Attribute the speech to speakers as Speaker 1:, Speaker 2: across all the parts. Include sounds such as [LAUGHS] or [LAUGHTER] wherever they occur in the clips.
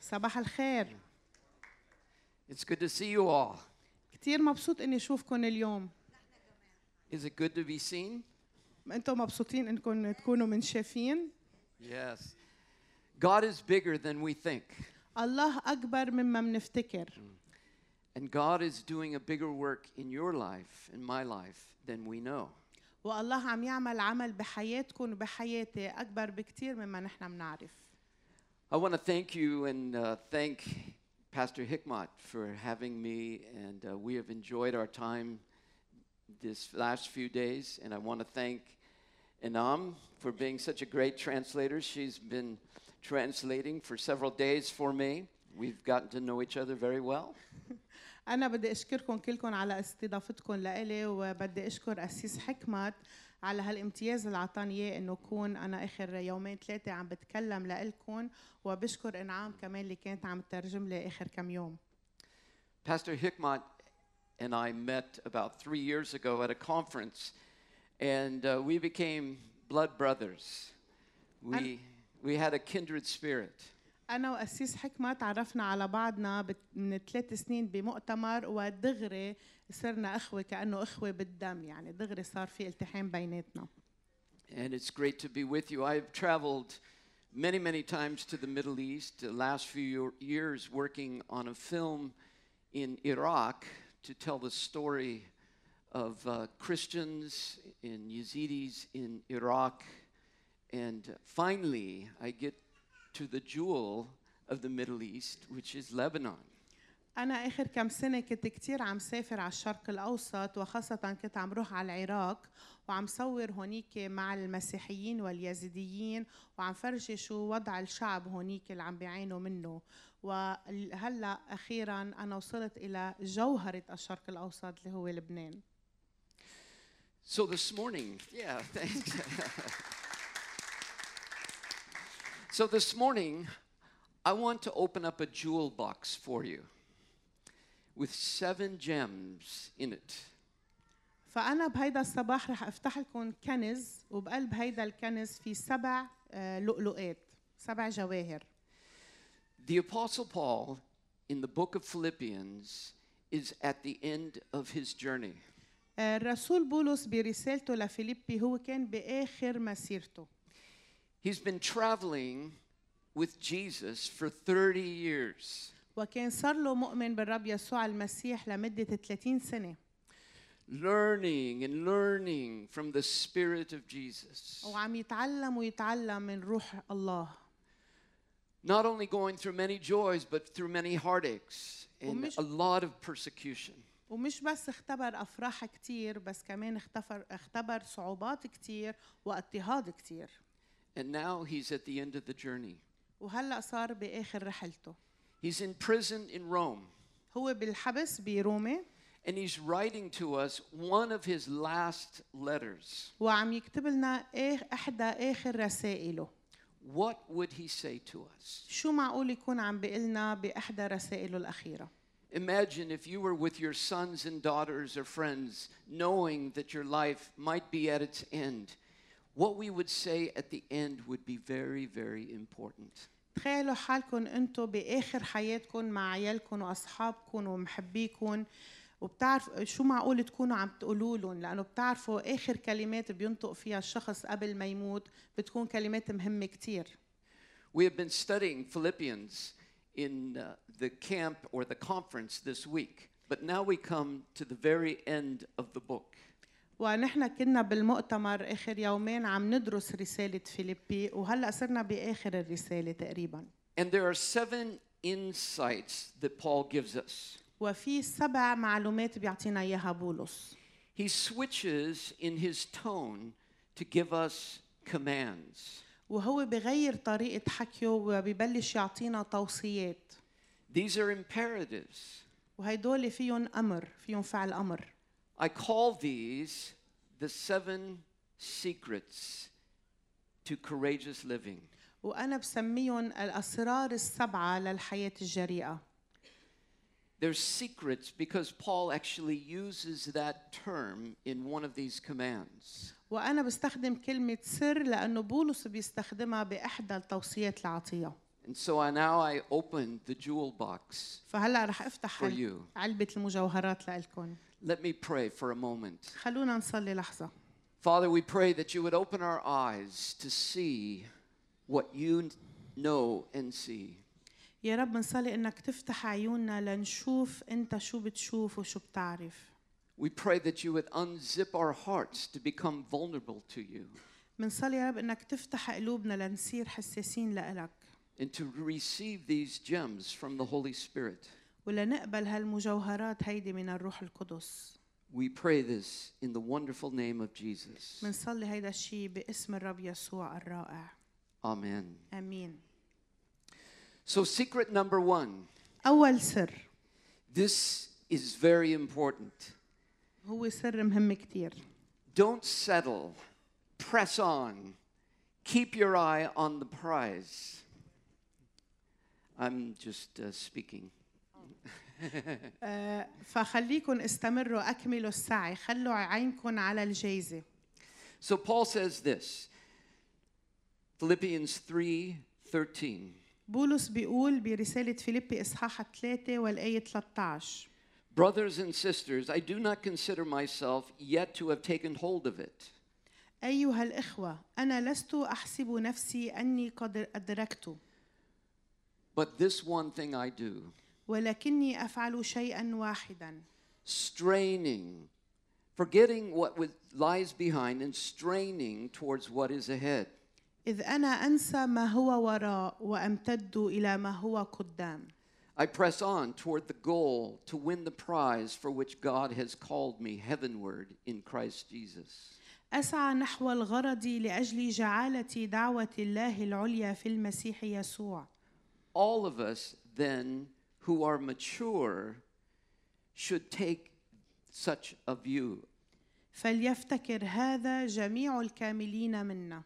Speaker 1: صباح الخير
Speaker 2: It's good to see you all.
Speaker 1: كتير مبسوط اني اشوفكم اليوم
Speaker 2: Is it good to be seen?
Speaker 1: انتم مبسوطين انكم تكونوا منشافين
Speaker 2: Yes. God is bigger than we think,
Speaker 1: الله اكبر مما منفتكر
Speaker 2: and God is doing a bigger work in your life, in my life, than we know.
Speaker 1: والله عم يعمل عمل بحياتكم وبحياتي اكبر بكتير مما نحن بنعرف
Speaker 2: I want to thank you and uh, thank Pastor Hickmott for having me, and uh, we have enjoyed our time this last few days. And I want to thank Inam for being such a great translator. She's been translating for several days for me. We've gotten to know each other very well.
Speaker 1: أنا بدي أشكركم كلكم على استضافتكم لإلي وبدي أشكر أسيس حكمت على هالامتياز اللي عطاني إياه إنه كون أنا آخر يومين ثلاثة عم بتكلم لإلكم وبشكر إنعام كمان اللي كانت عم تترجم لي آخر كم يوم
Speaker 2: Pastor Hickmott and I met about three years ago at a conference, and uh, we became blood brothers. We, we had a kindred spirit.
Speaker 1: أنا وأسيس حكمة تعرفنا على بعضنا بت- من ثلاث سنين بمؤتمر ودغري صرنا أخوة كأنه أخوة بالدم يعني دغري صار في التحام بيناتنا
Speaker 2: And it's great to be with you. I've traveled many, many times to the Middle East, the last few year- years working on a film in Iraq to tell the story of uh, Christians and Yazidis in Iraq. And finally, I get to the jewel of the Middle East, which is Lebanon.
Speaker 1: أنا آخر كم سنة كنت كتير عم سافر على الشرق الأوسط وخاصة كنت عم روح على العراق وعم صور هونيك مع المسيحيين واليزيديين وعم فرجي شو وضع الشعب هونيك اللي عم بيعانوا منه وهلا أخيرا أنا وصلت إلى جوهرة الشرق الأوسط اللي هو لبنان
Speaker 2: So this morning, yeah, [LAUGHS] thanks. so this morning, I want to open up a jewel box for you with seven gems in it.
Speaker 1: فأنا بهيدا الصباح رح أفتح لكم كنز وبقلب هيدا الكنز في سبع آه، لؤلؤات سبع جواهر
Speaker 2: The Apostle Paul in the book of Philippians is at the end of his journey.
Speaker 1: آه، الرسول بولس برسالته لفيليبي هو كان بآخر مسيرته
Speaker 2: He's been traveling with Jesus for 30 years.
Speaker 1: وكان صار له مؤمن بالرب يسوع المسيح لمدة 30 سنة
Speaker 2: Learning and learning from the Spirit of Jesus.
Speaker 1: وعم يتعلم ويتعلم من روح الله
Speaker 2: not only going through many joys, but through many heartaches and
Speaker 1: ومش-
Speaker 2: a lot of persecution.
Speaker 1: ومش بس اختبر أفراح كتير بس كمان اختبر, اختبر صعوبات كتير واضطهاد كتير
Speaker 2: And now he's at the end of the journey.
Speaker 1: وهلأ صار بآخر رحلته
Speaker 2: He's in prison in Rome,
Speaker 1: هو بالحبس بروما
Speaker 2: and he's writing to us one of his last letters.
Speaker 1: وعم يكتب لنا إيه احدى اخر رسائله
Speaker 2: What would he say to us?
Speaker 1: شو معقول يكون عم بيقلنا باحدى رسائله الاخيره
Speaker 2: Imagine if you were with your sons and daughters or friends, knowing that your life might be at its end. What we would say at the end would be very, very important.
Speaker 1: تخيلوا حالكم انتم باخر حياتكم مع عيالكم واصحابكم ومحبيكم وبتعرف شو معقول تكونوا عم تقولوا لهم لانه بتعرفوا اخر كلمات بينطق فيها الشخص قبل ما يموت بتكون كلمات مهمه كتير
Speaker 2: We have been studying Philippians in uh, the camp or the conference this week, but now we come to the very end of the book.
Speaker 1: ونحن كنا بالمؤتمر اخر يومين عم ندرس رساله فيليبي وهلا صرنا باخر الرساله تقريبا
Speaker 2: And there are seven insights that Paul gives us.
Speaker 1: وفي سبع معلومات بيعطينا اياها بولس
Speaker 2: He switches in his tone to give us commands.
Speaker 1: وهو بغير طريقه حكيه وببلش يعطينا توصيات
Speaker 2: These are imperatives.
Speaker 1: وهيدول فيهم امر فيهم فعل امر
Speaker 2: I call these the seven secrets to courageous living.
Speaker 1: وانا بسميهم الاسرار السبعه للحياه الجريئه
Speaker 2: There's secrets because Paul actually uses that term in one of these commands.
Speaker 1: وأنا بستخدم كلمة سر لأنه بولس بيستخدمها بإحدى التوصيات اللي عطيها
Speaker 2: And so I, now I opened the jewel box.
Speaker 1: فهلا رح افتح
Speaker 2: For
Speaker 1: عل-
Speaker 2: you.
Speaker 1: علبة المجوهرات لإلكم
Speaker 2: Let me pray for a moment.
Speaker 1: خلونا نصلي لحظة
Speaker 2: Father, we pray that you would open our eyes to see what you know and see.
Speaker 1: يا رب بنصلي إنك تفتح عيوننا لنشوف أنت شو بتشوف وشو بتعرف
Speaker 2: We pray that you would unzip our hearts to become vulnerable to you
Speaker 1: بنصلي يا رب إنك تفتح قلوبنا لنصير حساسين لإلك
Speaker 2: and to receive these gems from the Holy Spirit.
Speaker 1: ولنقبل هالمجوهرات هيدي من الروح القدس
Speaker 2: We pray this in the wonderful name of Jesus.
Speaker 1: منصلي هيدا الشيء باسم الرب يسوع الرائع
Speaker 2: Amen.
Speaker 1: امين
Speaker 2: So, secret number one
Speaker 1: اول سر
Speaker 2: this is very important.
Speaker 1: هو سر مهم كتير
Speaker 2: Don't settle, press on, keep your eye on the prize. I'm just uh, speaking.
Speaker 1: آه، فخليكن استمروا اكملوا السعي خلوا عينكن على الجايزه
Speaker 2: So Paul says this Philippians 3 13.
Speaker 1: بولس بيقول برساله فيليبي اصحاح 3 والايه 13
Speaker 2: Brothers and sisters, I do not consider myself yet to have taken hold of it.
Speaker 1: ايها الاخوه انا لست احسب نفسي اني قد ادركت
Speaker 2: But this one thing I do,
Speaker 1: ولكني افعل شيئا واحدا
Speaker 2: straining, forgetting what was, lies behind and straining towards what is ahead.
Speaker 1: إذ أنا أنسى ما هو وراء وأمتد إلى ما هو قدام
Speaker 2: I press on toward the goal to win the prize for which God has called me heavenward in Christ Jesus.
Speaker 1: أسعى نحو الغرض لأجل جعالة دعوة الله العليا في المسيح يسوع
Speaker 2: All of us, then, who are mature, should take such a view.
Speaker 1: فليفتكر هذا جميع الكاملين منا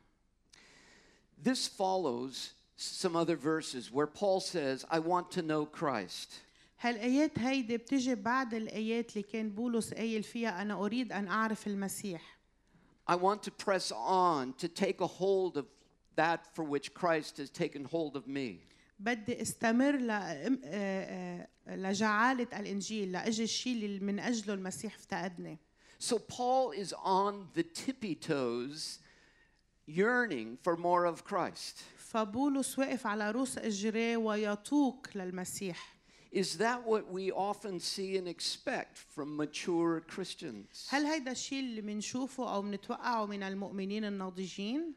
Speaker 2: This follows some other verses where Paul says, I want to know Christ.
Speaker 1: هالآيات هيدي بتجي بعد الآيات اللي كان بولس قايل فيها أنا أريد أن أعرف المسيح
Speaker 2: I want to press on to take a hold of that for which Christ has taken hold of me.
Speaker 1: بدي استمر ل... أم- آه- آه- لجعالة الإنجيل لأجل الشيء اللي من أجله المسيح افتقدني
Speaker 2: So Paul is on the tippy toes, yearning for more of Christ.
Speaker 1: فبولس واقف على رؤوس اجراه ويطوق للمسيح
Speaker 2: Is that what we often see and expect from mature Christians?
Speaker 1: هل هيدا الشيء اللي منشوفه او منتوقعه من المؤمنين الناضجين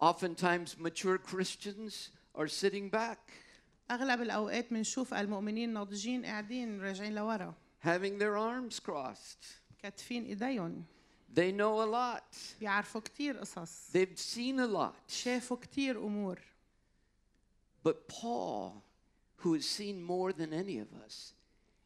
Speaker 2: Oftentimes, mature Christians are sitting back,
Speaker 1: اغلب الاوقات منشوف المؤمنين الناضجين قاعدين راجعين لورا
Speaker 2: having their arms crossed.
Speaker 1: كاتفين ايديهم
Speaker 2: They know a lot,
Speaker 1: بيعرفوا كتير قصص
Speaker 2: they've seen a lot.
Speaker 1: شافوا كتير امور
Speaker 2: But Paul, who has seen more than any of us,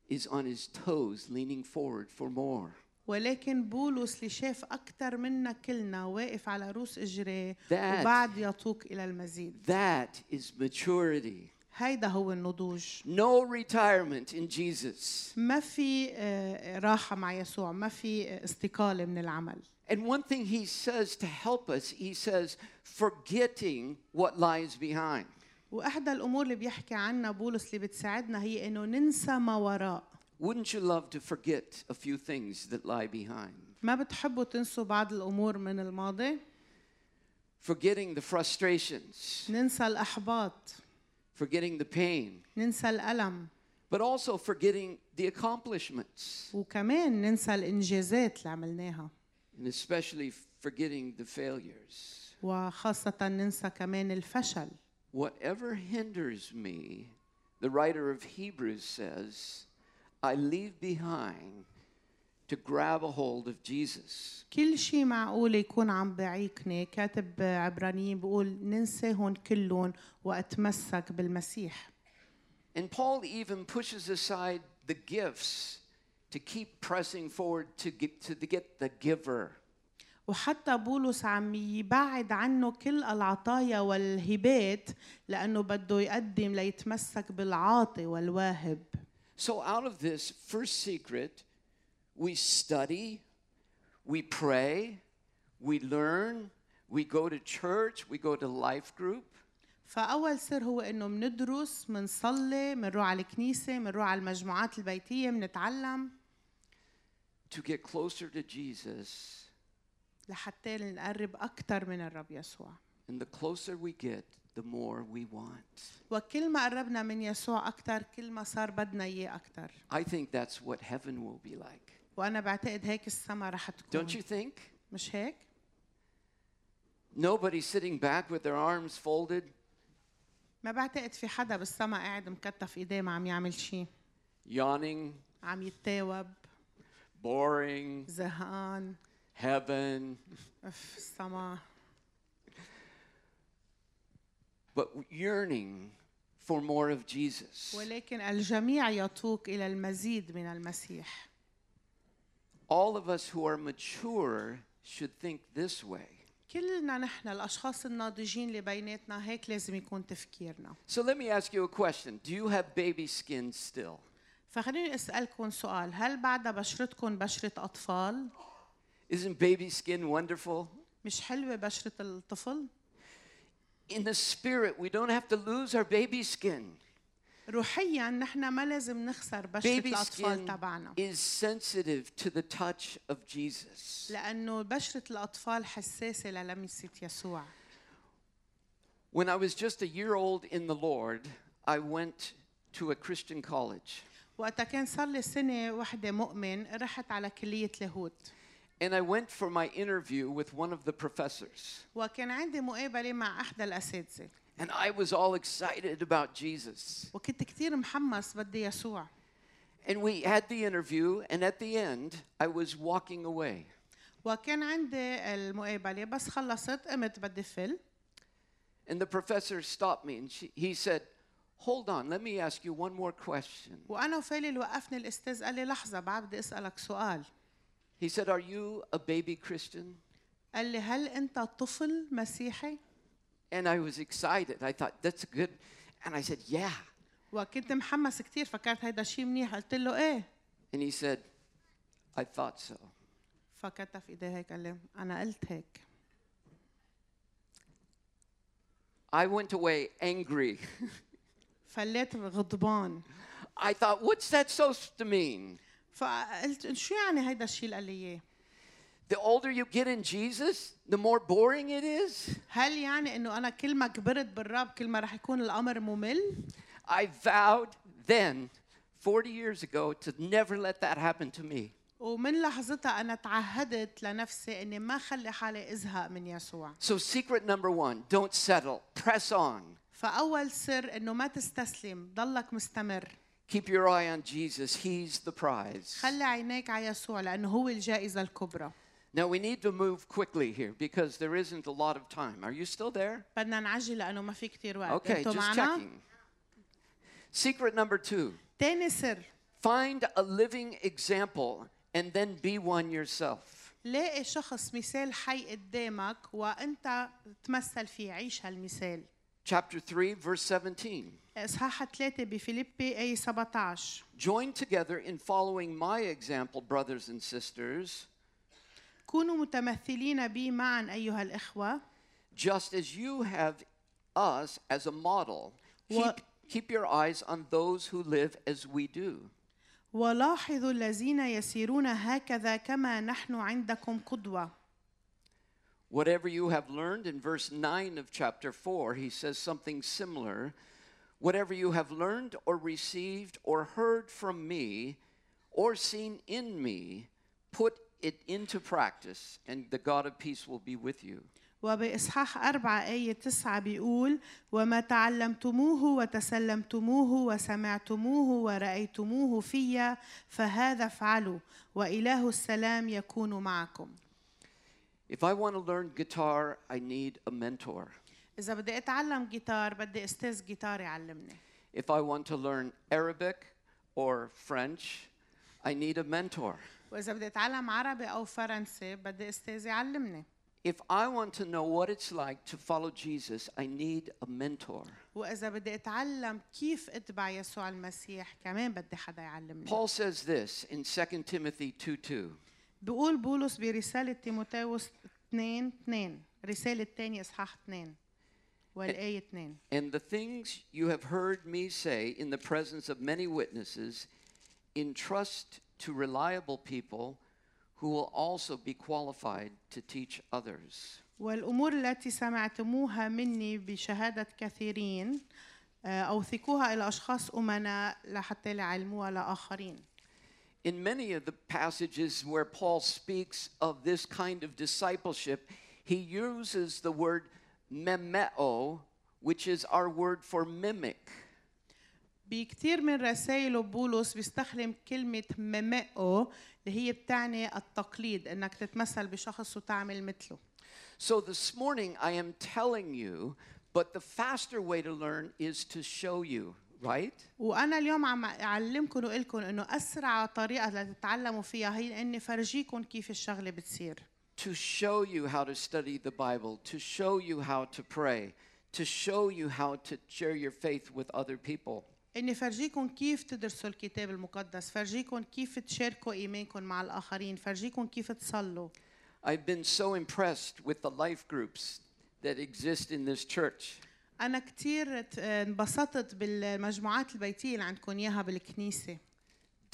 Speaker 2: is on his toes leaning forward for more.
Speaker 1: ولكن بولس اللي شاف اكثر منا كلنا واقف على رؤوس اجراه
Speaker 2: That-
Speaker 1: وبعد يطوق الى المزيد
Speaker 2: That is maturity.
Speaker 1: هيدا هو النضوج
Speaker 2: No retirement in Jesus.
Speaker 1: ما في آه، راحة مع يسوع ما في آه، استقالة من العمل
Speaker 2: And one thing he says to help us, he says, forgetting what lies behind.
Speaker 1: وإحدى الأمور اللي بيحكي عنها بولس اللي بتساعدنا هي إنه ننسى ما وراء
Speaker 2: Wouldn't you love to forget a few things that lie behind?
Speaker 1: ما بتحبوا تنسوا بعض الأمور من الماضي
Speaker 2: Forgetting the frustrations,
Speaker 1: ننسى الإحباط
Speaker 2: forgetting the pain,
Speaker 1: ننسى الألم
Speaker 2: but also forgetting the accomplishments,
Speaker 1: وكمان ننسى الإنجازات اللي عملناها
Speaker 2: and especially forgetting the failures.
Speaker 1: وخاصة ننسى كمان الفشل
Speaker 2: Whatever hinders me, the writer of Hebrews says, I leave behind to grab a hold of Jesus.
Speaker 1: كل شيء معقول يكون عم بعيقني كاتب عبرانيين بيقول ننساهم كلهم وأتمسك بالمسيح
Speaker 2: And Paul even pushes aside the gifts to keep pressing forward to get, to get the giver.
Speaker 1: وحتى بولس عم يبعد عنه كل العطايا والهبات لأنه بده يقدم ليتمسك بالعاطي والواهب
Speaker 2: So, out of this first secret, we study, we pray, we learn, we go to church, we go to life group.
Speaker 1: فأول سر هو إنه مندرس منصلي منروح على الكنيسة منروح على المجموعات البيتية منتعلم
Speaker 2: To get closer to Jesus,
Speaker 1: لحتى نقرب أكثر من الرب يسوع
Speaker 2: and the closer we get, the more we want.
Speaker 1: وكل ما قربنا من يسوع أكثر كل ما صار بدنا إياه أكثر
Speaker 2: I think that's what heaven will be like.
Speaker 1: وأنا بعتقد هيك السما رح تكون
Speaker 2: Don't you think?
Speaker 1: مش هيك؟
Speaker 2: Nobody sitting back with their arms folded.
Speaker 1: ما بعتقد في حدا بالسما قاعد مكتف إيديه ما عم يعمل شيء
Speaker 2: yawning,
Speaker 1: عم يتاوب
Speaker 2: boring,
Speaker 1: زهقان
Speaker 2: heaven.
Speaker 1: اف السما
Speaker 2: But yearning for more of Jesus.
Speaker 1: ولكن الجميع يتوق إلى المزيد من المسيح
Speaker 2: All of us who are mature should think this way.
Speaker 1: كلنا نحن الأشخاص الناضجين اللي بيناتنا هيك لازم يكون تفكيرنا
Speaker 2: So let me ask you a question Do you have baby skin still?
Speaker 1: فخليني أسألكم سؤال هل بعد بشرتكم بشرة أطفال؟
Speaker 2: Isn't baby skin wonderful?
Speaker 1: مش حلوة بشرة الطفل؟
Speaker 2: In the spirit, we don't have to lose our baby skin.
Speaker 1: روحيا نحن ما لازم نخسر بشرة
Speaker 2: Baby
Speaker 1: الأطفال
Speaker 2: skin
Speaker 1: تبعنا
Speaker 2: is sensitive to the touch of Jesus.
Speaker 1: لأنه بشرة الأطفال حساسة للمسة يسوع
Speaker 2: When I was just a year old in the Lord, I went to a Christian college.
Speaker 1: وقتها كان صار لي سنة وحدة مؤمن رحت على كلية لاهوت
Speaker 2: And I went for my interview with one of the professors.
Speaker 1: وكان عندي مقابلة مع أحدى الأساتذة
Speaker 2: And I was all excited about Jesus.
Speaker 1: وكنت كتير محمس بدي يسوع
Speaker 2: And we had the interview, and at the end, I was walking away.
Speaker 1: وكان عندي المقابلة بس خلصت قمت بدي فل
Speaker 2: And the professor stopped me and she, he said, Hold on, let me ask you one more question.
Speaker 1: وأنا وفالي اللي وقفني الأستاذ قال لي لحظة بعد بدي أسألك سؤال
Speaker 2: He said, Are you a baby Christian?
Speaker 1: قال لي هل أنت طفل مسيحي؟
Speaker 2: And I was excited. I thought, That's good. And I said, Yeah.
Speaker 1: وكنت محمس كتير فكرت هيدا شيء منيح قلت له إيه
Speaker 2: And he said, I thought so.
Speaker 1: فكتف إيديه هيك قال لي أنا قلت هيك
Speaker 2: I went away angry. [LAUGHS]
Speaker 1: فليت غضبان
Speaker 2: I thought, What's that supposed to mean?
Speaker 1: فقلت شو يعني هيدا الشيء اللي قال لي إياه؟
Speaker 2: The older you get in Jesus, the more boring it is.
Speaker 1: هل يعني انه انا كل ما كبرت بالرب كل ما رح يكون الامر ممل؟
Speaker 2: I vowed then, 40 years ago, to never let that happen to me.
Speaker 1: ومن لحظتها انا تعهدت لنفسي اني ما خلي حالي ازهق من يسوع،
Speaker 2: So, secret number one don't settle, press on.
Speaker 1: فاول سر انه ما تستسلم، ضلك مستمر،
Speaker 2: Keep your eye on Jesus, He's the prize.
Speaker 1: خلي عينيك على يسوع لانه هو الجائزه الكبرى،
Speaker 2: Now, we need to move quickly here because there isn't a lot of time. Are you still there?
Speaker 1: بدنا نعجل لانه ما في كتير وقت،
Speaker 2: Okay,
Speaker 1: انتوا
Speaker 2: just
Speaker 1: معنا؟
Speaker 2: checking. Secret number two
Speaker 1: تاني سر،
Speaker 2: find a living example and then be one yourself.
Speaker 1: لاقي شخص مثال حي قدامك وانت تمثل فيه، عيش هالمثال.
Speaker 2: Chapter 3, verse 17.
Speaker 1: اصحاح 3 بفيليبي آية اي 17
Speaker 2: Join together in following my example, brothers and sisters,
Speaker 1: كونوا متمثلين بي معا أيها الإخوة
Speaker 2: just as you have us as a model. Keep,
Speaker 1: What-
Speaker 2: keep your eyes on those who live as we do.
Speaker 1: ولاحظوا الذين يسيرون هكذا كما نحن عندكم قدوة
Speaker 2: Whatever you have learned in verse 9 of chapter 4, he says something similar. Whatever you have learned or received or heard from me or seen in me, put it into practice, and the God of peace will be with you.
Speaker 1: وبإصحاح أربعة آية تسعة بيقول وما تعلمتموه وتسلمتموه وسمعتموه ورأيتموه فيا فهذا افعلوا وإله السلام يكون معكم
Speaker 2: If I want to learn guitar, I need a mentor.
Speaker 1: إذا بدي أتعلم جيتار بدي أستاذ جيتار يعلمني
Speaker 2: If I want to learn Arabic or French, I need a mentor.
Speaker 1: وإذا بدي أتعلم عربي أو فرنسي بدي أستاذ يعلمني
Speaker 2: If I want to know what it's like to follow Jesus, I need a mentor.
Speaker 1: وإذا بدي أتعلم كيف أتبع يسوع المسيح كمان بدي حدا يعلمني
Speaker 2: Paul says this in 2 Timothy 2 2.
Speaker 1: بيقول بولس برسالة تيموتاوس 2 2 رسالة تاني إصحاح 2 والآية 2
Speaker 2: And the things you have heard me say in the presence of many witnesses, entrust to reliable people who will also be qualified to teach others.
Speaker 1: والأمور التي سمعتموها مني بشهادة كثيرين آه، أوثقوها إلى أشخاص أمناء لحتى يعلموها لآخرين
Speaker 2: In many of the passages where Paul speaks of this kind of discipleship, he uses the word memeo, which is our word for mimic.
Speaker 1: بكتير من رسائله بولس بيستخدم كلمة ممئو اللي هي بتعني التقليد انك تتمثل بشخص وتعمل مثله
Speaker 2: So this morning I am telling you, but the faster way to learn is to show you, right?
Speaker 1: وانا اليوم عم اعلمكم واقلكم انه اسرع طريقه لتتعلموا فيها هي اني فرجيكم كيف الشغله بتصير
Speaker 2: to show you how to study the Bible, to show you how to pray, to show you how to share your faith with other people.
Speaker 1: اني فرجيكم كيف تدرسوا الكتاب المقدس فرجيكم كيف تشاركوا ايمانكم مع الاخرين فرجيكم كيف تصلوا
Speaker 2: I've been so impressed with the life groups that exist in this church.
Speaker 1: انا كثير انبسطت بالمجموعات البيتيه اللي عندكم اياها بالكنيسه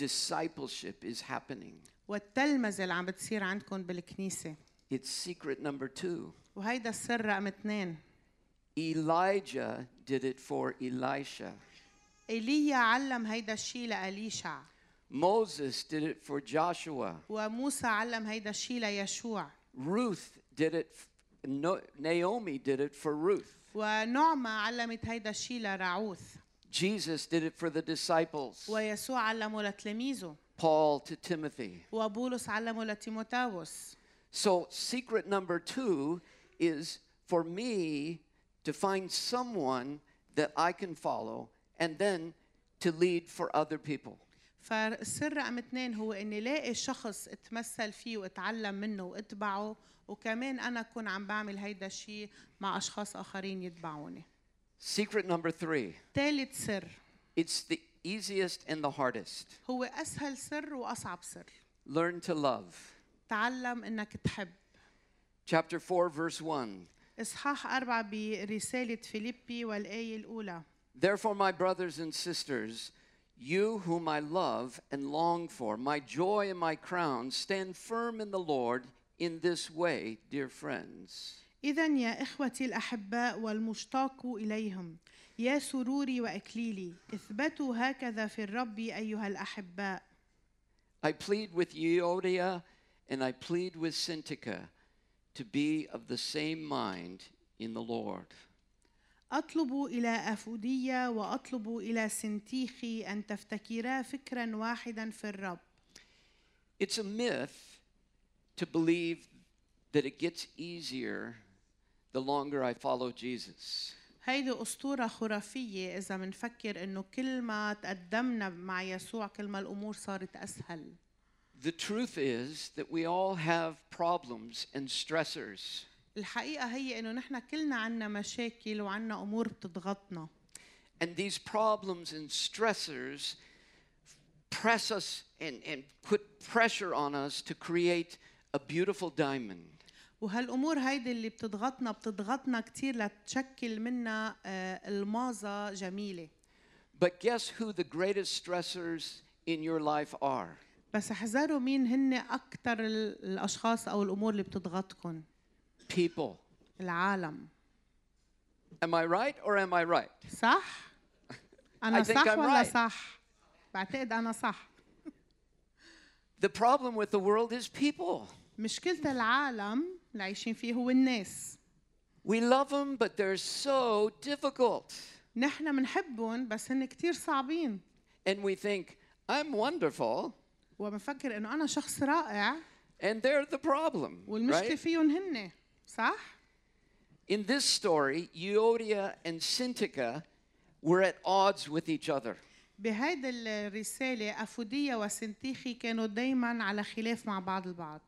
Speaker 2: Discipleship is happening.
Speaker 1: والتلمذة اللي عم بتصير عندكم بالكنيسة
Speaker 2: It's secret number two.
Speaker 1: وهيدا السر رقم اثنين
Speaker 2: Elijah did it for Elisha.
Speaker 1: ايليا علم هيدا الشيء لأليشع
Speaker 2: Moses did it for Joshua.
Speaker 1: وموسى علم هيدا الشيء ليشوع
Speaker 2: Ruth did it. f- No, Naomi did it for Ruth.
Speaker 1: ونعمة علمت هيدا الشيء لرعوث
Speaker 2: Jesus did it for the disciples.
Speaker 1: ويسوع علمه لتلاميذه
Speaker 2: Paul to Timothy.
Speaker 1: وبولس علمه لتيموتاوس
Speaker 2: So, secret number two is for me to find someone that I can follow and then to lead for other people.
Speaker 1: فالسر رقم اثنين هو اني لاقي شخص اتمثل فيه واتعلم منه واتبعه وكمان انا اكون عم بعمل هيدا الشيء مع اشخاص اخرين يتبعوني
Speaker 2: Secret number three
Speaker 1: ثالث سر
Speaker 2: it's the easiest and the hardest.
Speaker 1: هو أسهل سر وأصعب سر
Speaker 2: Learn to love.
Speaker 1: تعلم أنك تحب
Speaker 2: Chapter 4, verse 1.
Speaker 1: إصحاح أربعة برسالة فيليبي والآية الأولى
Speaker 2: Therefore, my brothers and sisters, you whom I love and long for, my joy and my crown, stand firm in the Lord in this way, dear friends.
Speaker 1: إذا يا إخوتي الأحباء والمشتاق إليهم يا سروري وإكليلي اثبتوا هكذا في الرب أيها الأحباء
Speaker 2: I plead with Euodia and I plead with Syntyche to be of the same mind in the Lord.
Speaker 1: أطلب إلى أفودية وأطلب إلى سنتيخي أن تفتكرا فكرا واحدا في الرب
Speaker 2: It's a myth to believe that it gets easier the longer I follow Jesus.
Speaker 1: هيدي أسطورة خرافية إذا منفكر إنه كل ما تقدمنا مع يسوع كل ما الأمور صارت أسهل
Speaker 2: The truth is that we all have problems and stressors,
Speaker 1: الحقيقة هي إنه نحن كلنا عنا مشاكل وعنا أمور بتضغطنا
Speaker 2: and these problems and stressors press us and, and put pressure on us to create a beautiful diamond.
Speaker 1: وهالأمور هيدي اللي بتضغطنا بتضغطنا كتير لتشكل منا آه، الماظة جميلة
Speaker 2: But guess who the greatest stressors in your life are?
Speaker 1: بس احذروا مين هن أكتر ال- الأشخاص أو الأمور اللي بتضغطكن
Speaker 2: People.
Speaker 1: العالم
Speaker 2: Am I right or am I right? [LAUGHS]
Speaker 1: صح؟ أنا
Speaker 2: I think
Speaker 1: صح
Speaker 2: I'm
Speaker 1: ولا
Speaker 2: right.
Speaker 1: صح؟ بعتقد أنا صح
Speaker 2: The problem with the world is people.
Speaker 1: مشكلة العالم اللي عايشين فيه هو الناس
Speaker 2: We love them, but they're so difficult.
Speaker 1: نحن منحبهم بس هن كتير صعبين
Speaker 2: And we think, I'm wonderful,
Speaker 1: وبنفكر انه انا شخص رائع
Speaker 2: and they're the problem.
Speaker 1: والمشكلة
Speaker 2: right?
Speaker 1: فيهم هن صح؟
Speaker 2: In this story, Euodia and Syntyche were at odds with each other.
Speaker 1: بهيدي الرسالة أفودية وسنتيخي كانوا دايما على خلاف مع بعض البعض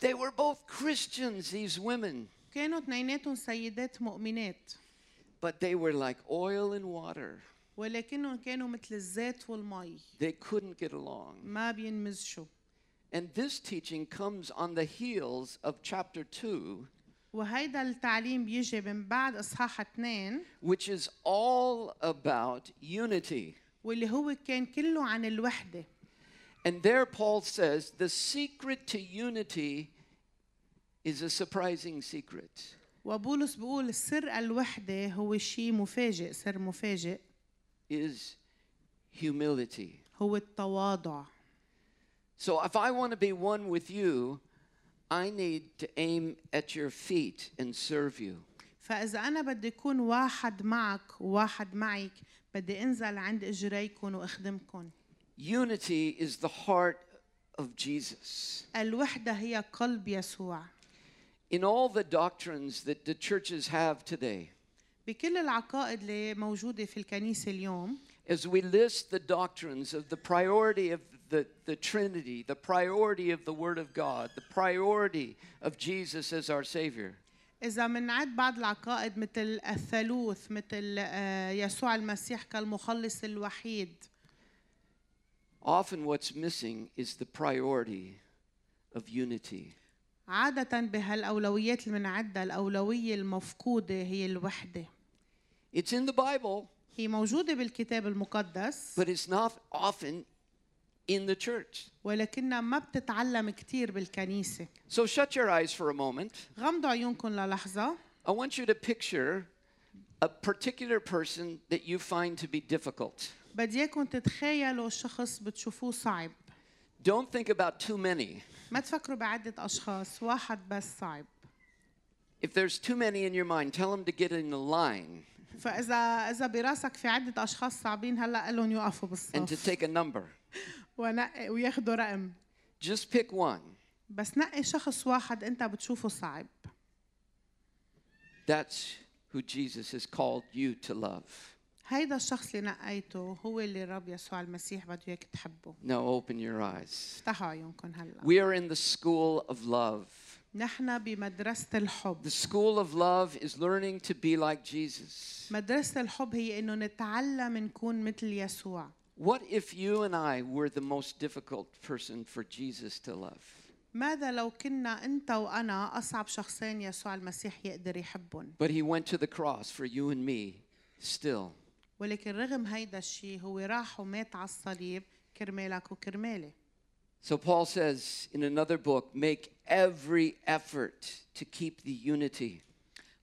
Speaker 2: They were both Christians, these women,
Speaker 1: كانوا اثنيناتهم سيدات مؤمنات
Speaker 2: but they were like oil and water.
Speaker 1: ولكنهم كانوا مثل الزيت والمي
Speaker 2: They couldn't get along.
Speaker 1: ما بينمزجوا
Speaker 2: And this teaching comes on the heels of chapter 2,
Speaker 1: وهيدا التعليم بيجي من بعد اصحاح اثنين
Speaker 2: which is all about unity.
Speaker 1: واللي هو كان كله عن الوحده
Speaker 2: And there Paul says the secret to unity is a surprising secret.
Speaker 1: وبولس بيقول سر الوحده هو شيء مفاجئ سر مفاجئ
Speaker 2: is humility.
Speaker 1: هو التواضع
Speaker 2: So if I want to be one with you, I need to aim at your feet and serve you.
Speaker 1: فاذا انا بدي اكون واحد معك وواحد معك بدي انزل عند اجريكم واخدمكم
Speaker 2: Unity is the heart of Jesus.
Speaker 1: الوحده هي قلب يسوع
Speaker 2: In all the doctrines that the churches have today,
Speaker 1: بكل العقائد اللي موجوده في الكنيسه اليوم
Speaker 2: as we list the doctrines of the priority of the, the Trinity, the priority of the Word of God, the priority of Jesus as our Savior,
Speaker 1: إذا منعد بعض العقائد مثل الثالوث مثل آه، يسوع المسيح كالمخلص الوحيد
Speaker 2: often what's missing is the priority of unity.
Speaker 1: عادة بهالأولويات اللي منعدها الأولوية المفقودة هي الوحدة
Speaker 2: It's in the Bible,
Speaker 1: هي موجودة بالكتاب المقدس
Speaker 2: but it's not often in the church.
Speaker 1: ولكنها ما بتتعلم كتير بالكنيسة
Speaker 2: So shut your eyes for a moment.
Speaker 1: غمضوا عيونكم للحظة
Speaker 2: I want you to picture a particular person that you find to be difficult.
Speaker 1: بدي اياكم تتخيلوا شخص بتشوفوه صعب
Speaker 2: Don't think about too many.
Speaker 1: ما تفكروا بعدة أشخاص واحد بس صعب
Speaker 2: If there's too many in your mind, tell them to get in the line
Speaker 1: فإذا إذا براسك في عدة أشخاص صعبين هلا قلهم يوقفوا
Speaker 2: and to
Speaker 1: بالصف
Speaker 2: take a number.
Speaker 1: ونقي وياخدوا رقم
Speaker 2: Just pick one.
Speaker 1: بس نقي شخص واحد انت بتشوفه صعب
Speaker 2: That's who Jesus has called you to love.
Speaker 1: هيدا الشخص اللي نقيته هو اللي الرب يسوع المسيح بده اياك تحبه
Speaker 2: Now open your eyes.
Speaker 1: افتحوا عيونكم هلا
Speaker 2: We are in the school of love.
Speaker 1: نحن بمدرسة الحب
Speaker 2: The school of love is learning to be like Jesus.
Speaker 1: مدرسة الحب هي انه نتعلم نكون مثل يسوع
Speaker 2: What if you and I were the most difficult person for Jesus to love?
Speaker 1: ماذا لو كنا انت وانا اصعب شخصين يسوع المسيح يقدر يحبهم
Speaker 2: But he went to the cross for you and me still.
Speaker 1: ولكن رغم هيدا الشيء هو راح ومات على الصليب كرمالك وكرمالي
Speaker 2: So Paul says in another book make every effort to keep the unity.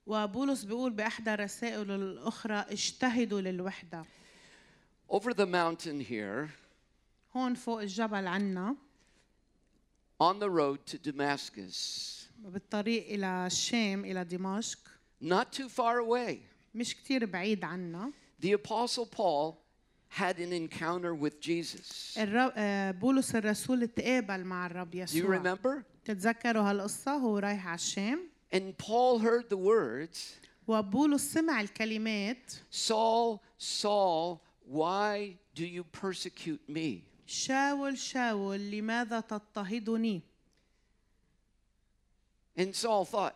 Speaker 1: وبولس بيقول باحدى رسائله الاخرى اجتهدوا للوحده
Speaker 2: Over the mountain here,
Speaker 1: هون فوق الجبل عنا
Speaker 2: on the road to Damascus,
Speaker 1: بالطريق إلى الشام إلى دمشق
Speaker 2: not too far away,
Speaker 1: مش كتير بعيد عنا
Speaker 2: the Apostle Paul had an encounter with Jesus.
Speaker 1: الرب... آه، بولس الرسول تقابل مع الرب
Speaker 2: Do you
Speaker 1: يسوع
Speaker 2: remember?
Speaker 1: تتذكروا هالقصة هو رايح على الشام
Speaker 2: And Paul heard the words
Speaker 1: وبولس سمع الكلمات
Speaker 2: Saul, Saul, why do you persecute me?
Speaker 1: شاول شاول لماذا تضطهدني
Speaker 2: And Saul thought,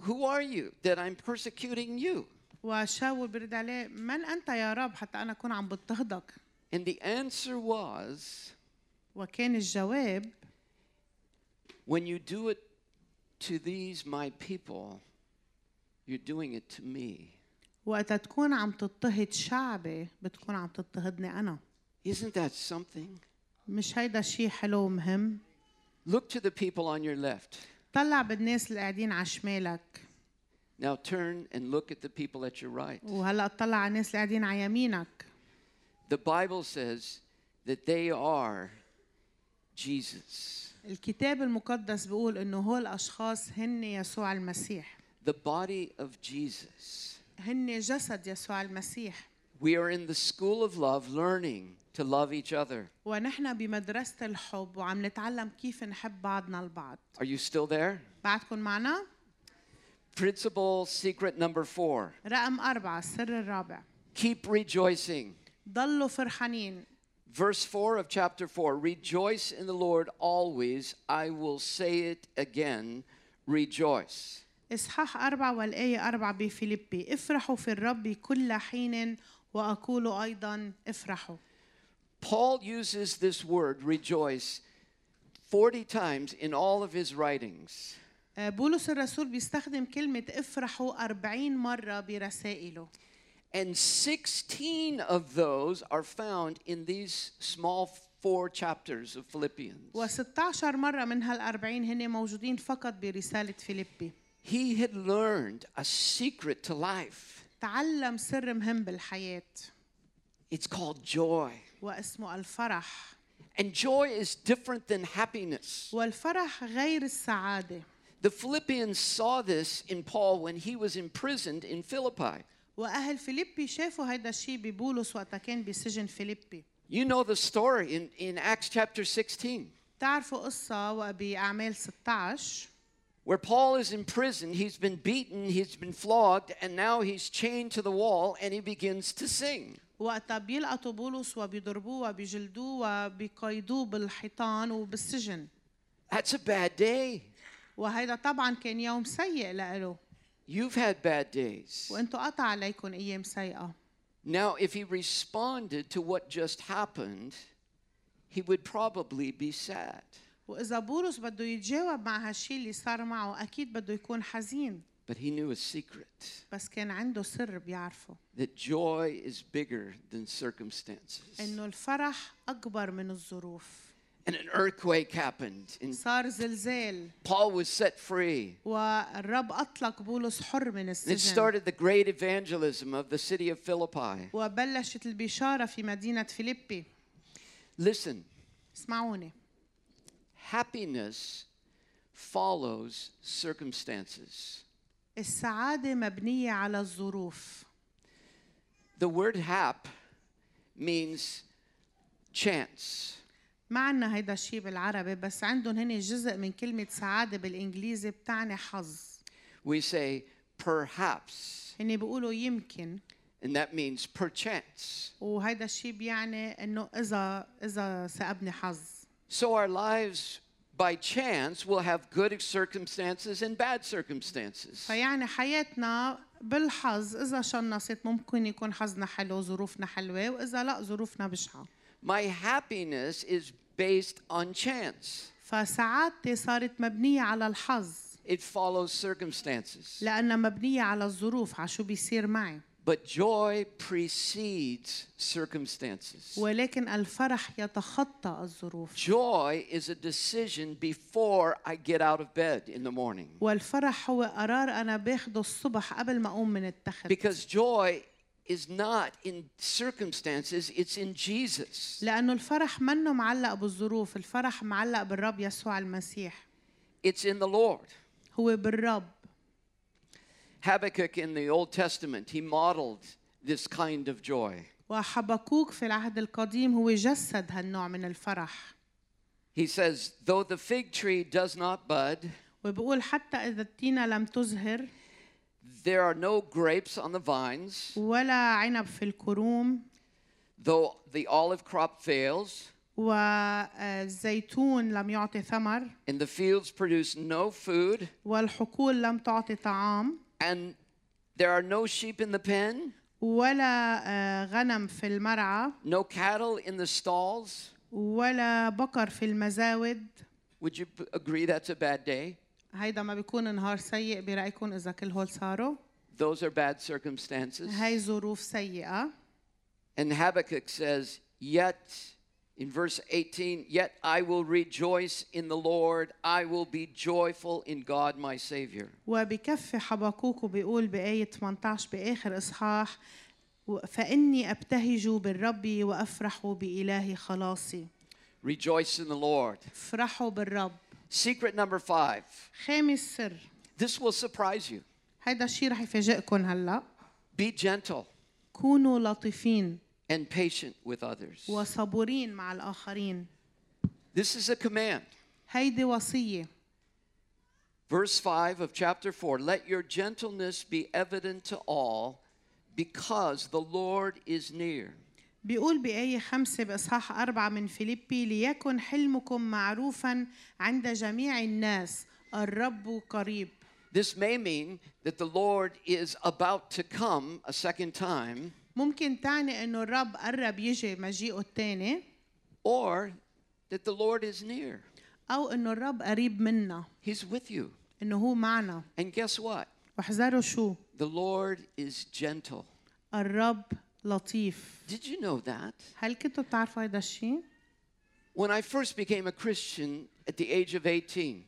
Speaker 2: Who are you that I'm persecuting you?
Speaker 1: وشاول برد عليه من أنت يا رب حتى أنا أكون عم بضطهدك
Speaker 2: And the answer was,
Speaker 1: وكان الجواب
Speaker 2: When you do it to these my people, you're doing it to me.
Speaker 1: وقتا تكون عم تضطهد شعبي بتكون عم تضطهدني أنا
Speaker 2: Isn't that something?
Speaker 1: مش هيدا شيء حلو ومهم
Speaker 2: Look to the people on your left.
Speaker 1: طلع بالناس اللي قاعدين على شمالك
Speaker 2: Now turn and look at the people at your right.
Speaker 1: وهلا اطلع على الناس اللي قاعدين على يمينك
Speaker 2: The Bible says that they are Jesus.
Speaker 1: الكتاب المقدس بيقول انه هول الاشخاص هن يسوع المسيح
Speaker 2: The body of Jesus.
Speaker 1: هن جسد يسوع المسيح
Speaker 2: We are in the school of love learning to love each other.
Speaker 1: ونحن بمدرسة الحب وعم نتعلم كيف نحب بعضنا البعض
Speaker 2: Are you still there?
Speaker 1: بعدكم معنا
Speaker 2: Principle secret number four
Speaker 1: رقم أربعة السر الرابع
Speaker 2: keep rejoicing.
Speaker 1: ضلوا فرحانين
Speaker 2: Verse 4 of chapter 4 Rejoice in the Lord always. I will say it again, rejoice.
Speaker 1: إصحاح أربعة والآية أربعة بفيلبي افرحوا في الرب كل حين وأقول أيضا افرحوا
Speaker 2: Paul uses this word, rejoice, 40 times in all of his writings.
Speaker 1: آه، بولس الرسول بيستخدم كلمة افرحوا أربعين مرة برسائله
Speaker 2: And 16 of those are found in these small four chapters of Philippians.
Speaker 1: و16 مرة من هالأربعين هن موجودين فقط برسالة فيلبي
Speaker 2: He had learned a secret to life.
Speaker 1: تعلم سر مهم بالحياة
Speaker 2: It's called joy.
Speaker 1: واسمه الفرح
Speaker 2: And joy is different than happiness.
Speaker 1: والفرح غير السعادة
Speaker 2: The Philippians saw this in Paul when he was imprisoned in Philippi.
Speaker 1: وأهل فيلبي شافوا هيدا الشيء ببولس وقتها كان بسجن فيلبي
Speaker 2: You know the story in, in Acts chapter 16.
Speaker 1: بتعرفوا قصة وقت بأعمال 16
Speaker 2: Where Paul is in prison, he's been beaten, he's been flogged, and now he's chained to the wall and he begins to sing.
Speaker 1: وقتها بيلقطوا بولس وبيضربوه وبيجلدوه وبيقيدوه بالحيطان وبالسجن
Speaker 2: That's a bad day.
Speaker 1: وهيدا طبعا كان يوم سيء لإله
Speaker 2: You've had bad days.
Speaker 1: وانتوا قطع عليكم أيام سيئة
Speaker 2: Now, if he responded to what just happened, he would probably be sad.
Speaker 1: وإذا بولس بده يتجاوب مع هالشي اللي صار معه أكيد بده يكون حزين
Speaker 2: But he knew a secret
Speaker 1: بس كان عنده سر بيعرفه
Speaker 2: that joy is bigger than circumstances.
Speaker 1: إنه الفرح أكبر من الظروف
Speaker 2: And an earthquake happened, and
Speaker 1: صار زلزال
Speaker 2: Paul was set free.
Speaker 1: والرب أطلق بولس حر من
Speaker 2: And it
Speaker 1: السجن
Speaker 2: started the great evangelism of the city of Philippi.
Speaker 1: وبلشت البشارة في مدينة فيلبي
Speaker 2: Listen,
Speaker 1: اسمعوني
Speaker 2: happiness follows circumstances.
Speaker 1: السعادة مبنية على الظروف
Speaker 2: The word hap means chance.
Speaker 1: ما عنا هيدا الشيء بالعربي بس عندهم هن جزء من كلمة سعادة بالإنجليزي بتعني حظ
Speaker 2: We say perhaps,
Speaker 1: هن بيقولوا يمكن
Speaker 2: and that means perchance.
Speaker 1: وهيدا الشيء بيعني انه اذا اذا سأبني حظ
Speaker 2: So our lives by chance will have good circumstances and bad circumstances.
Speaker 1: فيعني حياتنا بالحظ اذا شنصت ممكن يكون حظنا حلو ظروفنا حلوه واذا لا ظروفنا بشعه
Speaker 2: My happiness is based on chance.
Speaker 1: فسعادتي صارت مبنيه على الحظ
Speaker 2: It follows circumstances.
Speaker 1: لانها مبنيه على الظروف على شو بيصير معي
Speaker 2: But joy precedes circumstances.
Speaker 1: ولكن الفرح يتخطى الظروف
Speaker 2: Joy is a decision before I get out of bed in the morning.
Speaker 1: والفرح هو قرار انا باخده الصبح قبل ما اقوم من التخت
Speaker 2: Because joy is not in circumstances, it's in Jesus.
Speaker 1: لانه الفرح منه معلق بالظروف الفرح معلق بالرب يسوع المسيح
Speaker 2: It's in the Lord.
Speaker 1: هو بالرب
Speaker 2: Habakkuk in the Old Testament, he modeled this kind of joy.
Speaker 1: وحبكوك في العهد القديم هو جسد هالنوع من الفرح
Speaker 2: He says, Though the fig tree does not bud,
Speaker 1: وبقول حتى إذا التينة لم تزهر
Speaker 2: there are no grapes on the vines,
Speaker 1: ولا عنب في الكروم
Speaker 2: though the olive crop fails,
Speaker 1: والزيتون لم يعطي ثمر
Speaker 2: and the fields produce no food,
Speaker 1: والحقول لم تعطي طعام
Speaker 2: and there are no sheep in the pen,
Speaker 1: ولا آه، غنم في المرعى
Speaker 2: no cattle in the stalls.
Speaker 1: ولا بقر في المزاود
Speaker 2: Would you b- agree that's a bad day?
Speaker 1: هيدا ما بيكون نهار سيء برأيكم إذا كل هول صاروا
Speaker 2: Those are bad circumstances.
Speaker 1: هاي ظروف سيئة
Speaker 2: And Habakkuk says, Yet, in verse 18, yet I will rejoice in the Lord, I will be joyful in God my Savior.
Speaker 1: وبكفي حبقوك وبيقول بآية 18 بآخر إصحاح و- فإني أبتهج بالرب وأفرح بإله خلاصي
Speaker 2: Rejoice in the Lord.
Speaker 1: افرحوا بالرب
Speaker 2: Secret number five.
Speaker 1: خامس سر
Speaker 2: This will surprise you.
Speaker 1: هيدا الشيء رح يفاجئكم هلأ
Speaker 2: Be gentle
Speaker 1: كونوا لطيفين
Speaker 2: and patient with others.
Speaker 1: وصبورين مع الآخرين
Speaker 2: This is a command.
Speaker 1: هيدي وصية
Speaker 2: Verse 5 of chapter 4 Let your gentleness be evident to all because the Lord is near.
Speaker 1: بيقول بآية خمسة بإصحاح أربعة من فيليبي ليكن حلمكم معروفا عند جميع الناس الرب قريب
Speaker 2: This may mean that the Lord is about to come a second time,
Speaker 1: ممكن تعني إنه الرب قرب يجي مجيئه الثاني
Speaker 2: or that the Lord is near.
Speaker 1: أو إنه الرب قريب منا
Speaker 2: He's with you.
Speaker 1: إنه هو معنا
Speaker 2: And guess what?
Speaker 1: واحذروا شو
Speaker 2: The Lord is gentle.
Speaker 1: الرب لطيف
Speaker 2: Did you know that?
Speaker 1: هل كنتوا بتعرفوا هيدا الشيء؟
Speaker 2: When I first became a Christian at the age of 18,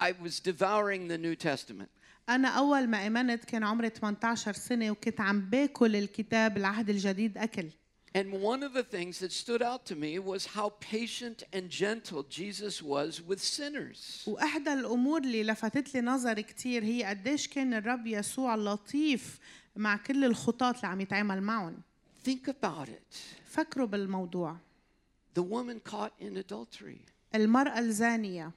Speaker 2: I was devouring the New Testament.
Speaker 1: أنا أول ما آمنت كان عمري 18 سنة وكنت عم باكل الكتاب العهد الجديد أكل
Speaker 2: And one of the things that stood out to me was how patient and gentle Jesus was with sinners.
Speaker 1: وإحدى الأمور اللي لفتت لي نظري كتير هي قديش كان الرب يسوع لطيف مع كل الخطاة اللي عم يتعامل معهم
Speaker 2: Think about it.
Speaker 1: فكروا بالموضوع
Speaker 2: The woman caught in adultery,
Speaker 1: المرأة الزانية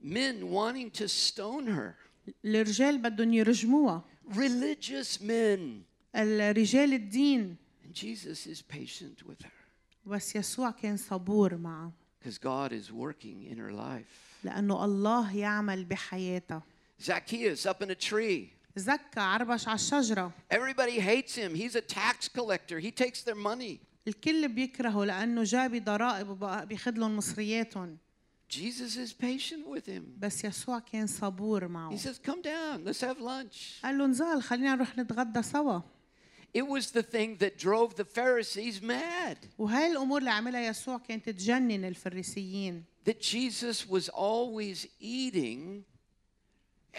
Speaker 2: men wanting to stone her,
Speaker 1: الرجال بدهم يرجموها
Speaker 2: religious men.
Speaker 1: الرجال الدين
Speaker 2: And Jesus is patient with her
Speaker 1: بس يسوع كان صبور معه
Speaker 2: because God is working in her life.
Speaker 1: لأنه الله يعمل بحياتها
Speaker 2: Zacchaeus up in a tree.
Speaker 1: زكى عربش على الشجرة
Speaker 2: Everybody hates him. He's a tax collector, he takes their money.
Speaker 1: الكل بيكرهه لأنه جاب ضرائب وبقى بياخد لهم مصرياتهم
Speaker 2: Jesus is patient with him.
Speaker 1: بس يسوع كان صبور معه
Speaker 2: He says, Come down, let's have lunch.
Speaker 1: قال له انزل خلينا نروح نتغدى سوا
Speaker 2: It was the thing that drove the Pharisees mad
Speaker 1: وهاي الأمور اللي عملها يسوع كانت تجنن الفريسيين
Speaker 2: that Jesus was always eating.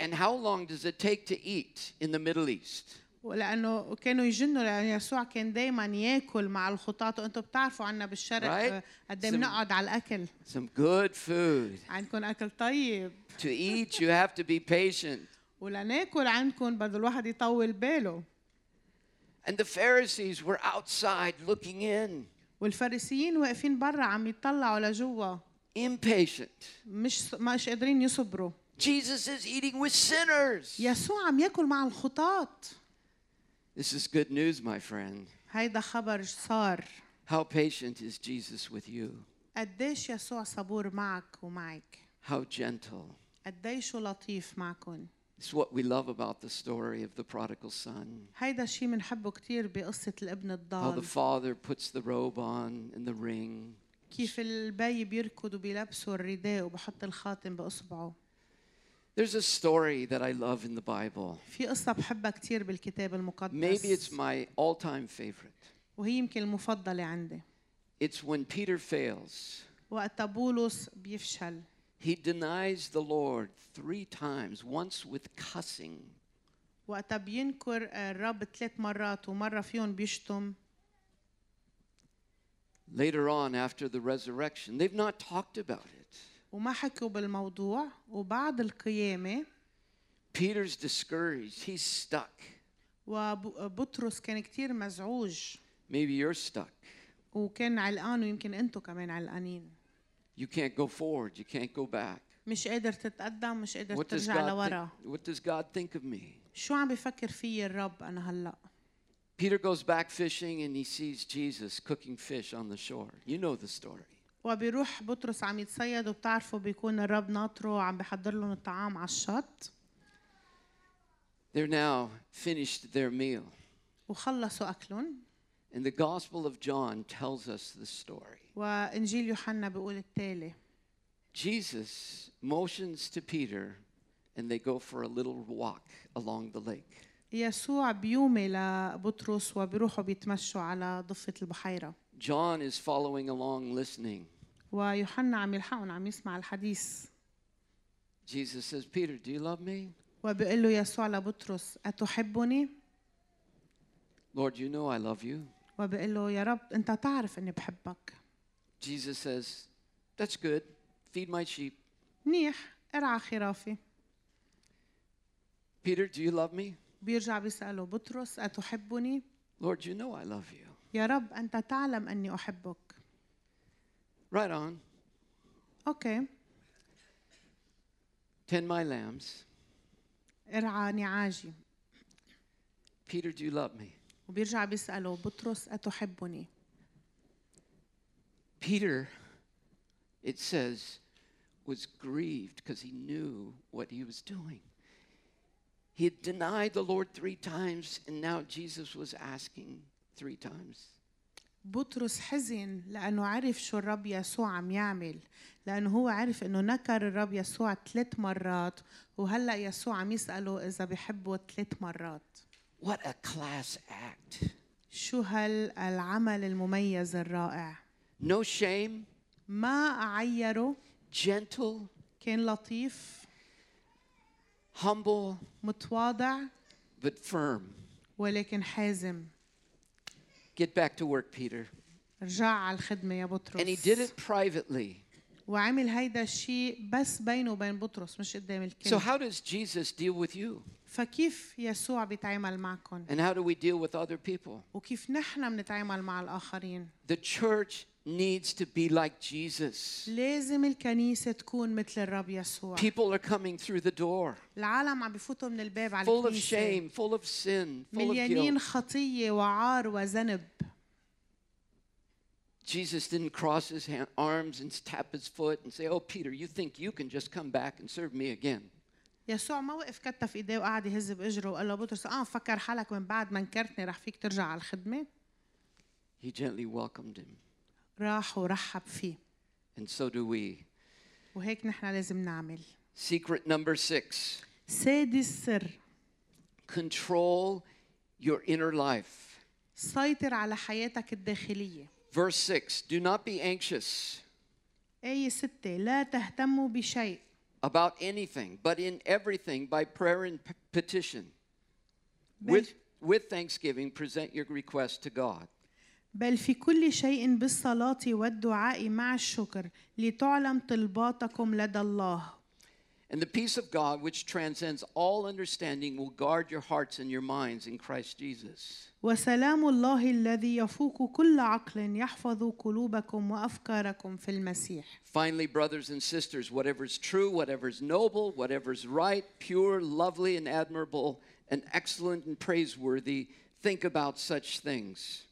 Speaker 2: And how long does it take to eat in the Middle East?
Speaker 1: ولأنه كانوا يجنوا لأن يسوع كان دايما ياكل مع الخطاة وأنتم بتعرفوا عنا بالشرق
Speaker 2: Right.
Speaker 1: آه، قد ايه
Speaker 2: Some-
Speaker 1: بنقعد على الأكل
Speaker 2: Some good food.
Speaker 1: عندكم أكل طيب
Speaker 2: To eat, you have to be patient.
Speaker 1: ولناكل عندكم بده الواحد يطول باله
Speaker 2: And the Pharisees were outside looking in,
Speaker 1: والفريسيين واقفين برا عم يتطلعوا لجوا
Speaker 2: impatient.
Speaker 1: مش مش قادرين يصبروا
Speaker 2: Jesus is eating with sinners.
Speaker 1: يسوع عم ياكل مع الخطاة
Speaker 2: This is good news, my friend.
Speaker 1: هيدا خبر صار
Speaker 2: How patient is Jesus with you?
Speaker 1: قديش يسوع صبور معك ومعك
Speaker 2: How gentle.
Speaker 1: قديش لطيف معكن
Speaker 2: It's what we love about the story of the prodigal son.
Speaker 1: هيدا الشيء بنحبه كتير بقصة الابن
Speaker 2: How the
Speaker 1: الضال
Speaker 2: father puts the robe on and the ring.
Speaker 1: كيف البي بيركض وبيلبسه الرداء وبحط الخاتم بإصبعه
Speaker 2: There's a story that I love in the Bible.
Speaker 1: في قصة بحبها كتير بالكتاب
Speaker 2: Maybe it's
Speaker 1: المقدس
Speaker 2: my all time favorite.
Speaker 1: وهي يمكن المفضلة عندي
Speaker 2: It's when Peter fails.
Speaker 1: وقت بولس بيفشل
Speaker 2: He denies the Lord three times, once with cussing,
Speaker 1: وقتها بينكر الرب ثلاث مرات ومرة فيهم بيشتم
Speaker 2: later on after the resurrection. They've not talked about it.
Speaker 1: وما حكوا بالموضوع وبعد القيامة
Speaker 2: Peter's discouraged, he's stuck.
Speaker 1: وبطرس كان كتير مزعوج
Speaker 2: Maybe you're stuck.
Speaker 1: وكان علقان ويمكن انتو كمان علقانين
Speaker 2: You can't go forward, you can't go back.
Speaker 1: مش قادر تتقدم مش قادر
Speaker 2: What does,
Speaker 1: ترجع
Speaker 2: God
Speaker 1: لورا
Speaker 2: think, what does God think of me?
Speaker 1: شو عم بفكر فيي الرب انا هلا
Speaker 2: Peter goes back fishing and he sees Jesus cooking fish on the shore. You know the story.
Speaker 1: وبيروح بطرس عم يتصيد وبتعرفوا بيكون الرب ناطره وعم بحضر لهم الطعام على الشط
Speaker 2: They're now finished their meal.
Speaker 1: وخلصوا اكلهم
Speaker 2: And the Gospel of John tells us the story.
Speaker 1: وانجيل يوحنا بيقول التالي
Speaker 2: Jesus motions to Peter and they go for a little walk along the lake.
Speaker 1: يسوع بيومي لبطرس وبيروحوا بيتمشوا على ضفة البحيرة
Speaker 2: John is following along listening.
Speaker 1: ويوحنا عم يلحقهم عم يسمع الحديث
Speaker 2: Jesus says, Peter, do you love me?
Speaker 1: وبيقول له يسوع لبطرس أتحبني؟
Speaker 2: Lord, you know I love you.
Speaker 1: وبيقول له يا رب أنت تعرف إني بحبك
Speaker 2: Jesus says, That's good. Feed my sheep.
Speaker 1: منيح ارعى خرافي
Speaker 2: Peter, do you love me?
Speaker 1: بيرجع بيسأله بطرس أتحبني؟
Speaker 2: Lord, you know I love you.
Speaker 1: يا رب أنت تعلم أني أحبك
Speaker 2: Right on.
Speaker 1: أوكي
Speaker 2: Tend my lambs.
Speaker 1: ارعى نعاجي
Speaker 2: Peter, do you love me?
Speaker 1: وبيرجع بيسأله بطرس أتحبني؟
Speaker 2: Peter, it says, was grieved because he knew what he was doing. He had denied the Lord three times, and now Jesus was asking three times.
Speaker 1: بطرس حزن لأنه عرف شو الرب يسوع عم يعمل لأنه هو عرف أنه نكر الرب يسوع ثلاث مرات وهلأ يسوع عم يسأله إذا بحبه ثلاث مرات
Speaker 2: What a class act!
Speaker 1: شو هالعمل المميز الرائع
Speaker 2: No shame,
Speaker 1: ما أعيره
Speaker 2: gentle,
Speaker 1: كان لطيف
Speaker 2: humble,
Speaker 1: متواضع
Speaker 2: but firm.
Speaker 1: ولكن حازم
Speaker 2: Get back to work, Peter.
Speaker 1: رجع على الخدمة يا بطرس
Speaker 2: And he did it privately.
Speaker 1: وعمل هيدا الشيء بس بينه وبين بطرس مش قدام الكل
Speaker 2: So, how does Jesus deal with you?
Speaker 1: فكيف يسوع بيتعامل معكم
Speaker 2: And how do we deal with other people?
Speaker 1: وكيف نحن بنتعامل مع الآخرين
Speaker 2: The church needs to be like Jesus.
Speaker 1: لازم الكنيسة تكون مثل الرب يسوع
Speaker 2: People are coming through the door,
Speaker 1: العالم عم بفوتوا من الباب على
Speaker 2: full of
Speaker 1: الكنيسة.
Speaker 2: shame, full of sin, full of
Speaker 1: مليانين
Speaker 2: guilt.
Speaker 1: خطية وعار وذنب
Speaker 2: Jesus didn't cross his hand, arms and tap his foot and say, Oh, Peter, you think you can just come back and serve me again?
Speaker 1: يسوع ما وقف كتف ايديه وقعد يهز باجره وقال له بطرس اه مفكر حالك من بعد ما انكرتني رح فيك ترجع على الخدمه
Speaker 2: He gently welcomed him.
Speaker 1: راح ورحب فيه
Speaker 2: And so do we.
Speaker 1: وهيك نحن لازم نعمل
Speaker 2: Secret number six
Speaker 1: سادس سر
Speaker 2: control your inner life.
Speaker 1: سيطر على حياتك الداخليه
Speaker 2: Verse 6 Do not be anxious
Speaker 1: آية ستة لا تهتموا بشيء
Speaker 2: about anything, but in everything by prayer and p- petition.
Speaker 1: بل,
Speaker 2: With, with thanksgiving, present your request to God.
Speaker 1: بل في كل شيء بالصلاة والدعاء مع الشكر لتعلم طلباتكم لدى الله
Speaker 2: And the peace of God, which transcends all understanding, will guard your hearts and your minds in Christ Jesus.
Speaker 1: وسلام الله الذي يفوق كل عقل يحفظ قلوبكم وأفكاركم في المسيح
Speaker 2: Finally, brothers and sisters, whatever is true, whatever is noble, whatever is right, pure, lovely, and admirable, and excellent and praiseworthy, think about such things.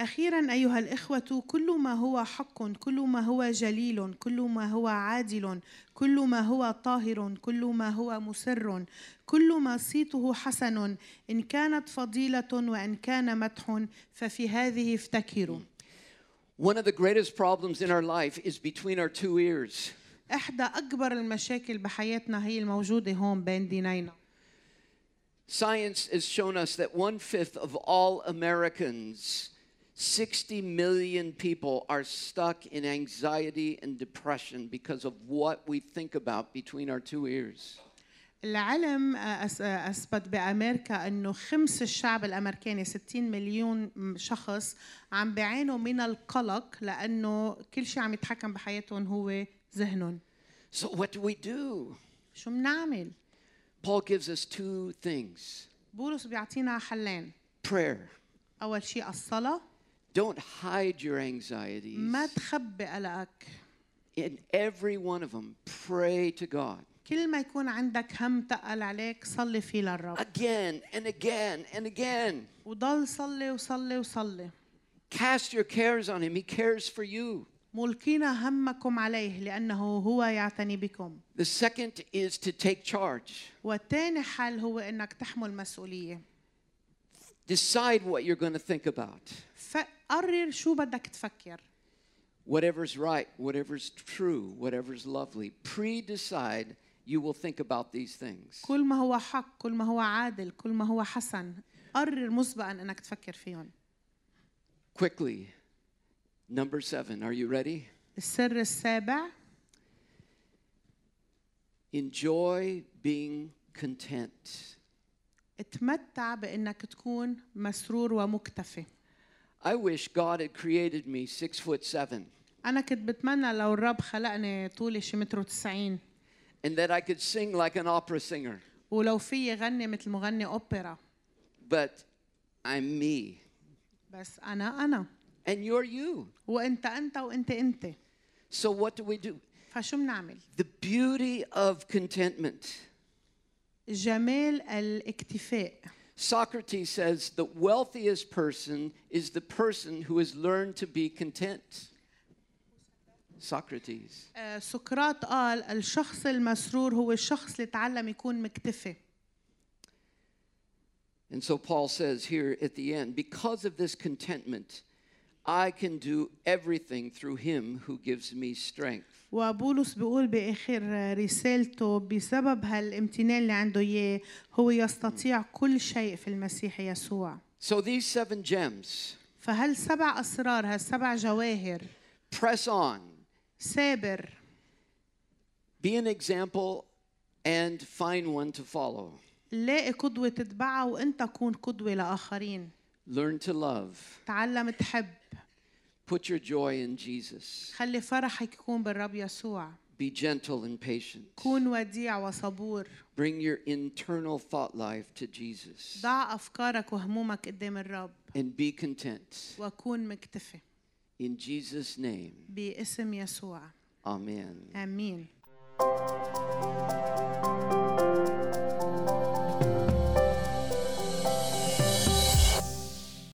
Speaker 1: أخيرا أيها الإخوة كل ما هو حق كل ما هو جليل كل ما هو عادل كل ما هو طاهر كل ما هو مسر كل ما صيته حسن إن كانت فضيلة وإن كان مدح ففي هذه افتكروا
Speaker 2: One of the greatest problems in our life is between our two ears.
Speaker 1: إحدى أكبر المشاكل بحياتنا هي الموجودة هون بين دينينا
Speaker 2: Science has shown us that one fifth of all Americans, 60 million people, are stuck in anxiety and depression because of what we think about between our two ears.
Speaker 1: العلم آه، أس- آه، أثبت بأمريكا أنه خمس الشعب الأمريكي 60 مليون م- شخص عم بيعانوا من القلق لأنه كل شيء عم يتحكم بحياتهم هو ذهنهم
Speaker 2: So, what do we do?
Speaker 1: شو بنعمل؟
Speaker 2: Paul gives us two things
Speaker 1: بولس بيعطينا حلين
Speaker 2: prayer.
Speaker 1: أول شيء الصلاة
Speaker 2: Don't hide your anxieties.
Speaker 1: ما تخبي قلقك
Speaker 2: In every one of them, pray to God.
Speaker 1: كل ما يكون عندك هم تقل عليك صلي فيه للرب
Speaker 2: Again and again and again.
Speaker 1: وضل صلي وصلي وصلي
Speaker 2: Cast your cares on Him, He cares for you.
Speaker 1: ملقين همكم عليه لأنه هو يعتني بكم
Speaker 2: The second is to take charge.
Speaker 1: والتاني حل هو انك تحمل مسؤوليه
Speaker 2: Decide what you're going to think about.
Speaker 1: فقرر شو بدك تفكر
Speaker 2: Whatever's right, whatever's true, whatever's lovely, pre decide you will think about these things.
Speaker 1: كل ما هو حق كل ما هو عادل كل ما هو حسن قرر مسبقا انك تفكر فيهم
Speaker 2: Quickly. Number seven, are you ready?
Speaker 1: السر السابع
Speaker 2: Enjoy being content.
Speaker 1: اتمتع بانك تكون مسرور ومكتفي
Speaker 2: I wish God had created me six foot seven
Speaker 1: انا كنت بتمنى لو الرب خلقني طولي شي متر وتسعين
Speaker 2: and that I could sing like an opera singer,
Speaker 1: ولو في غني مثل مغني اوبرا
Speaker 2: but I'm me.
Speaker 1: بس انا انا
Speaker 2: And you're you.
Speaker 1: وانت انت وانت انت
Speaker 2: So, what do we do?
Speaker 1: فشو بنعمل
Speaker 2: The beauty of contentment.
Speaker 1: جمال الاكتفاء
Speaker 2: Socrates says the wealthiest person is the person who has learned to be content. Socrates.
Speaker 1: آه، سقراط قال الشخص المسرور هو الشخص اللي تعلم يكون مكتفي
Speaker 2: And so Paul says here at the end, because of this contentment, I can do everything through him who gives me strength.
Speaker 1: وبولس بيقول بآخر رسالته بسبب هالامتنان اللي عنده إياه هو يستطيع كل شيء في المسيح يسوع
Speaker 2: So these seven gems
Speaker 1: فهل سبع أسرار هالسبع جواهر
Speaker 2: press on,
Speaker 1: سابر
Speaker 2: be an example, and find one to follow.
Speaker 1: لاقي قدوة تتبعها وأنت كون قدوة لآخرين
Speaker 2: Learn to love,
Speaker 1: تعلم تحب
Speaker 2: put your joy in Jesus,
Speaker 1: خلي فرحك يكون بالرب يسوع
Speaker 2: be gentle and patient,
Speaker 1: كون وديع وصبور
Speaker 2: bring your internal thought life to Jesus,
Speaker 1: ضع أفكارك وهمومك قدام الرب
Speaker 2: and be content.
Speaker 1: وكون مكتفي
Speaker 2: In Jesus' name,
Speaker 1: باسم يسوع
Speaker 2: amen.
Speaker 1: آمين